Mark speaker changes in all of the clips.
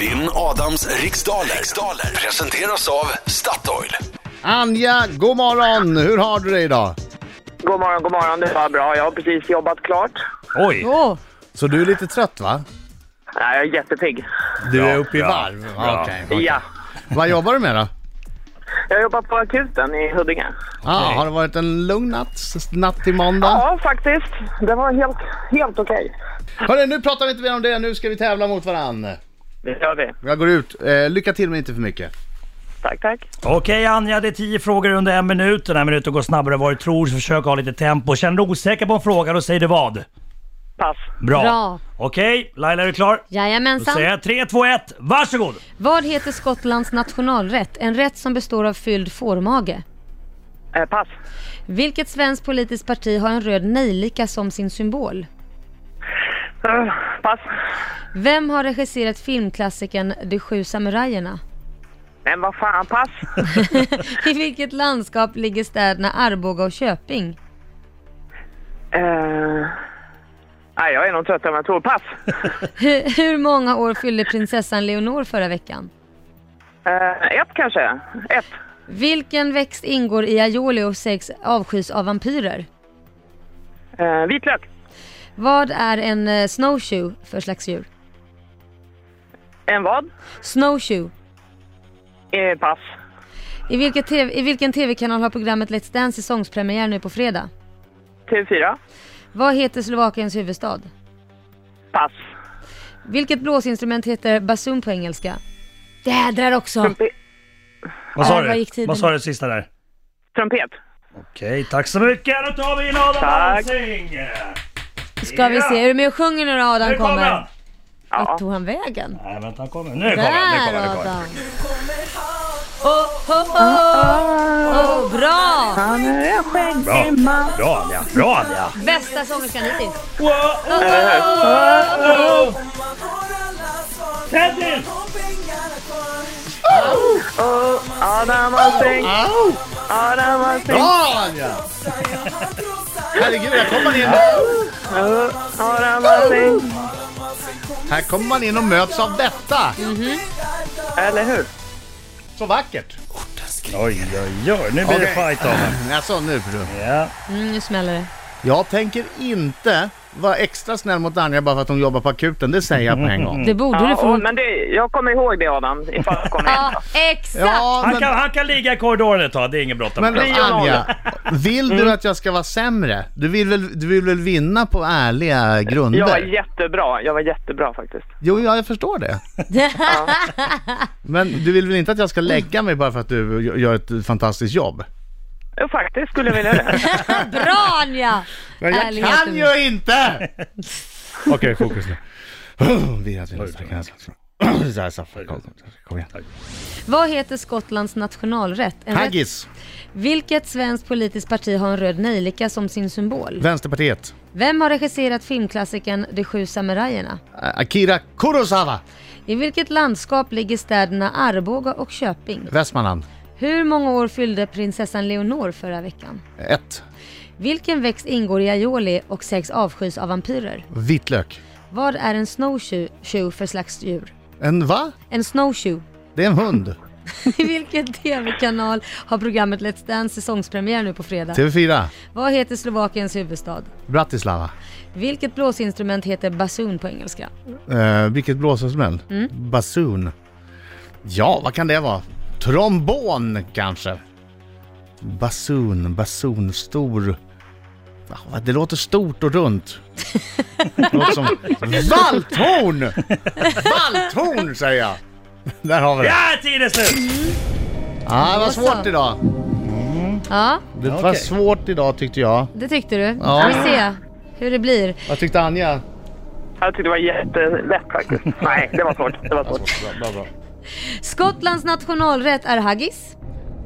Speaker 1: Vinn Adams riksdaler. riksdaler presenteras av Statoil.
Speaker 2: Anja, god morgon! Hur har du det idag?
Speaker 3: God morgon, god morgon. Det var bra. Jag har precis jobbat klart.
Speaker 4: Oj!
Speaker 5: Åh,
Speaker 2: Så du är lite trött va?
Speaker 3: Nej, jag är jättepigg.
Speaker 2: Du
Speaker 4: Bra,
Speaker 2: är uppe i
Speaker 4: bra,
Speaker 2: varv?
Speaker 4: bra.
Speaker 2: Okej, okej.
Speaker 3: Ja.
Speaker 2: Vad jobbar du med då?
Speaker 3: Jag jobbar på akuten i Huddinge.
Speaker 2: Ah, har det varit en lugn natt, s- natt till måndag?
Speaker 3: Ja, faktiskt. Det var helt, helt okej.
Speaker 2: Hörru, nu pratar vi inte mer om det, nu ska vi tävla mot varann.
Speaker 3: Det gör vi.
Speaker 2: Jag går ut. Eh, lycka till men inte för mycket.
Speaker 3: Tack, tack.
Speaker 4: Okej Anja, det är tio frågor under en minut. Den här minuten går snabbare än vad du tror, så försök ha lite tempo. Känner du osäker på en fråga, då säger du vad?
Speaker 3: Pass.
Speaker 4: Bra.
Speaker 5: Bra.
Speaker 4: Okej, Laila är du klar? Då
Speaker 5: jajamensan.
Speaker 4: säger jag 3, 2, 1, varsågod!
Speaker 5: Vad heter Skottlands nationalrätt? En rätt som består av fylld fårmage.
Speaker 3: Eh, pass.
Speaker 5: Vilket svenskt politiskt parti har en röd nejlika som sin symbol?
Speaker 3: Eh, pass.
Speaker 5: Vem har regisserat filmklassikern De sju samurajerna?
Speaker 3: Men vad fan, pass.
Speaker 5: I vilket landskap ligger städerna Arboga och Köping?
Speaker 3: Eh, nej, jag är nog trött än vad jag tror. Pass.
Speaker 5: Hur, hur många år fyllde prinsessan Leonor förra veckan?
Speaker 3: Eh, ett kanske. Ett.
Speaker 5: Vilken växt ingår i aioli och sägs avskys av vampyrer?
Speaker 3: Eh, vitlök.
Speaker 5: Vad är en eh, snowshoe för slags djur?
Speaker 3: En vad?
Speaker 5: Snowshoe.
Speaker 3: Eh, pass.
Speaker 5: I, vilket TV, I vilken tv-kanal har programmet Let's Dance säsongspremiär nu på fredag?
Speaker 3: TV4.
Speaker 5: Vad heter Slovakiens huvudstad?
Speaker 3: Pass.
Speaker 5: Vilket blåsinstrument heter bassoon på engelska? Jädrar också!
Speaker 3: Trumpe-
Speaker 4: Vad sa
Speaker 5: Ja, vad
Speaker 4: du?
Speaker 5: gick tiden?
Speaker 4: Vad sa du sista där?
Speaker 3: Trumpet.
Speaker 4: Okej, tack så mycket. Då tar vi in Adam
Speaker 3: Tack.
Speaker 4: Alsing!
Speaker 5: Ska vi se, är du med och sjunger nu då Adam
Speaker 4: Nu kommer han!
Speaker 5: kommer?
Speaker 3: Ja.
Speaker 5: Vart tog han vägen?
Speaker 4: Nej, vänta, han kommer. Nu kommer han, nu
Speaker 5: Där
Speaker 4: kommer han, nu kommer han.
Speaker 5: Adam! Oh, oh, oh. Oh, bra!
Speaker 3: Eh,
Speaker 4: Bra, bra Anja, bra Anja!
Speaker 5: Bästa sångerskan hittills.
Speaker 4: Wow, wow, wow, wow. Tändis!
Speaker 3: Adam Alsing.
Speaker 2: Au!
Speaker 3: Adam Alsing.
Speaker 2: Bra Anja! Herregud, här kommer man in.
Speaker 3: Adam Alsing.
Speaker 2: Här kommer man in och möts av detta.
Speaker 3: Eller hur?
Speaker 2: Så vackert.
Speaker 4: Oj, oj, oj, nu blir det
Speaker 2: Okej.
Speaker 4: fight av honom.
Speaker 2: Jaså, Alltså, nu för du.
Speaker 4: Ja.
Speaker 5: Mm, nu smäller det.
Speaker 2: Jag tänker inte vara extra snäll mot Anja bara för att hon jobbar på akuten. Det säger jag på en gång.
Speaker 5: Det borde
Speaker 3: Ja,
Speaker 5: du få.
Speaker 3: och, men det, jag kommer ihåg det Adam, ifall du kommer
Speaker 5: Ja, exakt!
Speaker 2: Ja,
Speaker 4: Han,
Speaker 2: men,
Speaker 4: kan, han kan ligga i korridoren ett tag, det är inget bråttom.
Speaker 2: men
Speaker 4: med det.
Speaker 2: Anja, vill du att jag ska vara sämre? Du vill väl, du vill väl vinna på ärliga
Speaker 3: Jag var
Speaker 2: grunder?
Speaker 3: jättebra, jag var jättebra faktiskt.
Speaker 2: Jo, ja, jag förstår det. Men du vill väl inte att jag ska lägga mig bara för att du gör ett fantastiskt jobb?
Speaker 3: Jo, faktiskt skulle jag vilja det.
Speaker 5: Bra Anja!
Speaker 2: Men jag
Speaker 5: Ärligheten.
Speaker 2: kan ju inte! Okej, fokus nu. Vi alltså att vi nästan kan- Så här, så här, kom, Kom igen.
Speaker 5: Vad heter Skottlands nationalrätt? En rätt-
Speaker 2: Haggis,
Speaker 5: Vilket svenskt politiskt parti har en röd nejlika som sin symbol?
Speaker 2: Vänsterpartiet.
Speaker 5: Vem har regisserat filmklassikern De sju samurajerna?
Speaker 2: Akira Kurosawa,
Speaker 5: I vilket landskap ligger städerna Arboga och Köping?
Speaker 2: Västmanland.
Speaker 5: Hur många år fyllde prinsessan Leonor förra veckan?
Speaker 2: 1.
Speaker 5: Vilken växt ingår i aioli och sägs avskys av vampyrer?
Speaker 2: Vitlök.
Speaker 5: Vad är en snowshoe shoe för slags djur?
Speaker 2: En va?
Speaker 5: En snowshoe.
Speaker 2: Det är en hund.
Speaker 5: I vilken tv-kanal har programmet Let's Dance säsongspremiär nu på fredag?
Speaker 2: TV4.
Speaker 5: Vad heter Slovakiens huvudstad?
Speaker 2: Bratislava.
Speaker 5: Vilket blåsinstrument heter bassoon på engelska?
Speaker 2: Eh, vilket blåsinstrument? Basun. Ja, vad kan det vara? Trombon kanske? Basun, basun, stor. Ah, Det låter stort och runt. Det låter som valthorn! Valthorn säger jag! Där har vi det.
Speaker 4: Ja, tiden är slut!
Speaker 2: Ah, det var
Speaker 5: Då så.
Speaker 2: svårt idag.
Speaker 5: Ja,
Speaker 2: Det var
Speaker 4: Okej.
Speaker 2: svårt idag tyckte jag.
Speaker 5: det tyckte du.
Speaker 2: Ja.
Speaker 5: Vi får se hur det blir.
Speaker 2: Vad tyckte Anja?
Speaker 3: Jag tyckte det var jättelätt faktiskt. Nej, det var svårt. Det var svårt.
Speaker 5: Skottlands nationalrätt är haggis.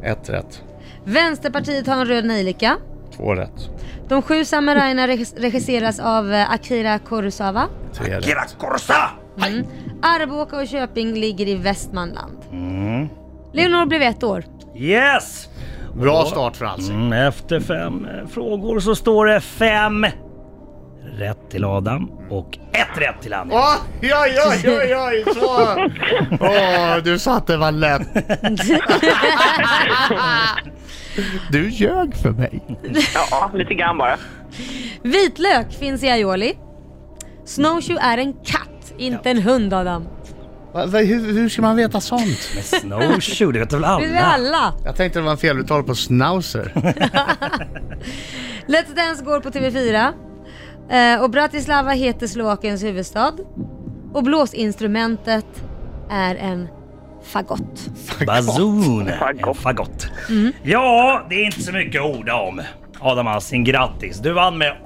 Speaker 2: Ett rätt.
Speaker 5: Vänsterpartiet har en röd nejlika.
Speaker 2: Två rätt.
Speaker 5: De sju samurajerna reg- regisseras av eh, Akira Kurosawa.
Speaker 2: Tre rätt.
Speaker 4: Kira Korsa!
Speaker 5: Arboga och Köping ligger i Västmanland. Leonor blev ett år.
Speaker 4: Yes!
Speaker 2: Bra start för Alsing.
Speaker 4: Mm, Efter fem eh, frågor så står det fem rätt till Adam och ett rätt till Annie.
Speaker 2: Oj, oj, oj, oj, oj, så! Åh, du sa att det var lätt. Du ljög för mig.
Speaker 3: Ja, lite grann bara.
Speaker 5: Vitlök finns i aioli. Snowshoe är en katt, inte en hund Adam.
Speaker 2: Va, va, hur, hur ska man veta sånt?
Speaker 4: Men snowshoe, det vet väl
Speaker 5: Det
Speaker 4: alla?
Speaker 5: är vi alla.
Speaker 2: Jag tänkte det var en feluttal på schnauzer.
Speaker 5: Let's Dance går på TV4. Eh, och Bratislava heter Slovakiens huvudstad. Och blåsinstrumentet är en fagott.
Speaker 4: Bazoon.
Speaker 3: Fagott.
Speaker 4: En fagott.
Speaker 5: Mm.
Speaker 4: Ja, det är inte så mycket att orda om. Adam Alsing, grattis! Du vann med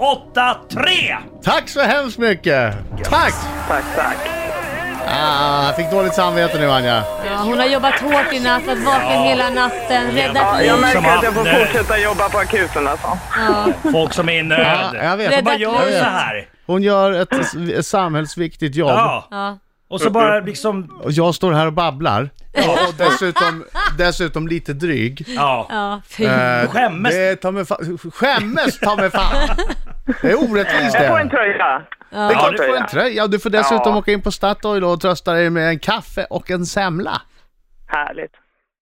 Speaker 4: 8-3!
Speaker 2: Tack så hemskt mycket! Tack!
Speaker 3: Tack, tack.
Speaker 2: Ah, jag fick dåligt samvete nu Anja.
Speaker 5: Ja, hon har jobbat hårt i natt, varit vaken hela natten, räddat
Speaker 3: Ja,
Speaker 5: liv.
Speaker 3: jag
Speaker 4: Som
Speaker 3: märker att jag får
Speaker 4: att, eh,
Speaker 3: fortsätta jobba på akuten alltså.
Speaker 5: Ja.
Speaker 4: Folk som är i nöd.
Speaker 2: Ja, jag vet.
Speaker 4: Så bara
Speaker 5: Räddat
Speaker 4: gör
Speaker 5: liv.
Speaker 4: så här.
Speaker 2: Hon gör ett, ett samhällsviktigt jobb.
Speaker 4: Ja.
Speaker 5: Ja.
Speaker 4: Och så bara liksom...
Speaker 2: Och jag står här och babblar. Och dessutom, dessutom lite dryg.
Speaker 4: Ja.
Speaker 5: Ja, fy.
Speaker 2: Eh,
Speaker 4: Skämmes.
Speaker 2: Det, ta mig fa- skämmes ta mig fan! Det är orättvist
Speaker 3: Jag får en
Speaker 2: det.
Speaker 3: tröja.
Speaker 2: Det är klart
Speaker 3: Ja,
Speaker 2: du får en tröja. Du får dessutom
Speaker 3: Ja.
Speaker 2: åka in på Statoil och trösta dig med en kaffe och en semla.
Speaker 3: Härligt.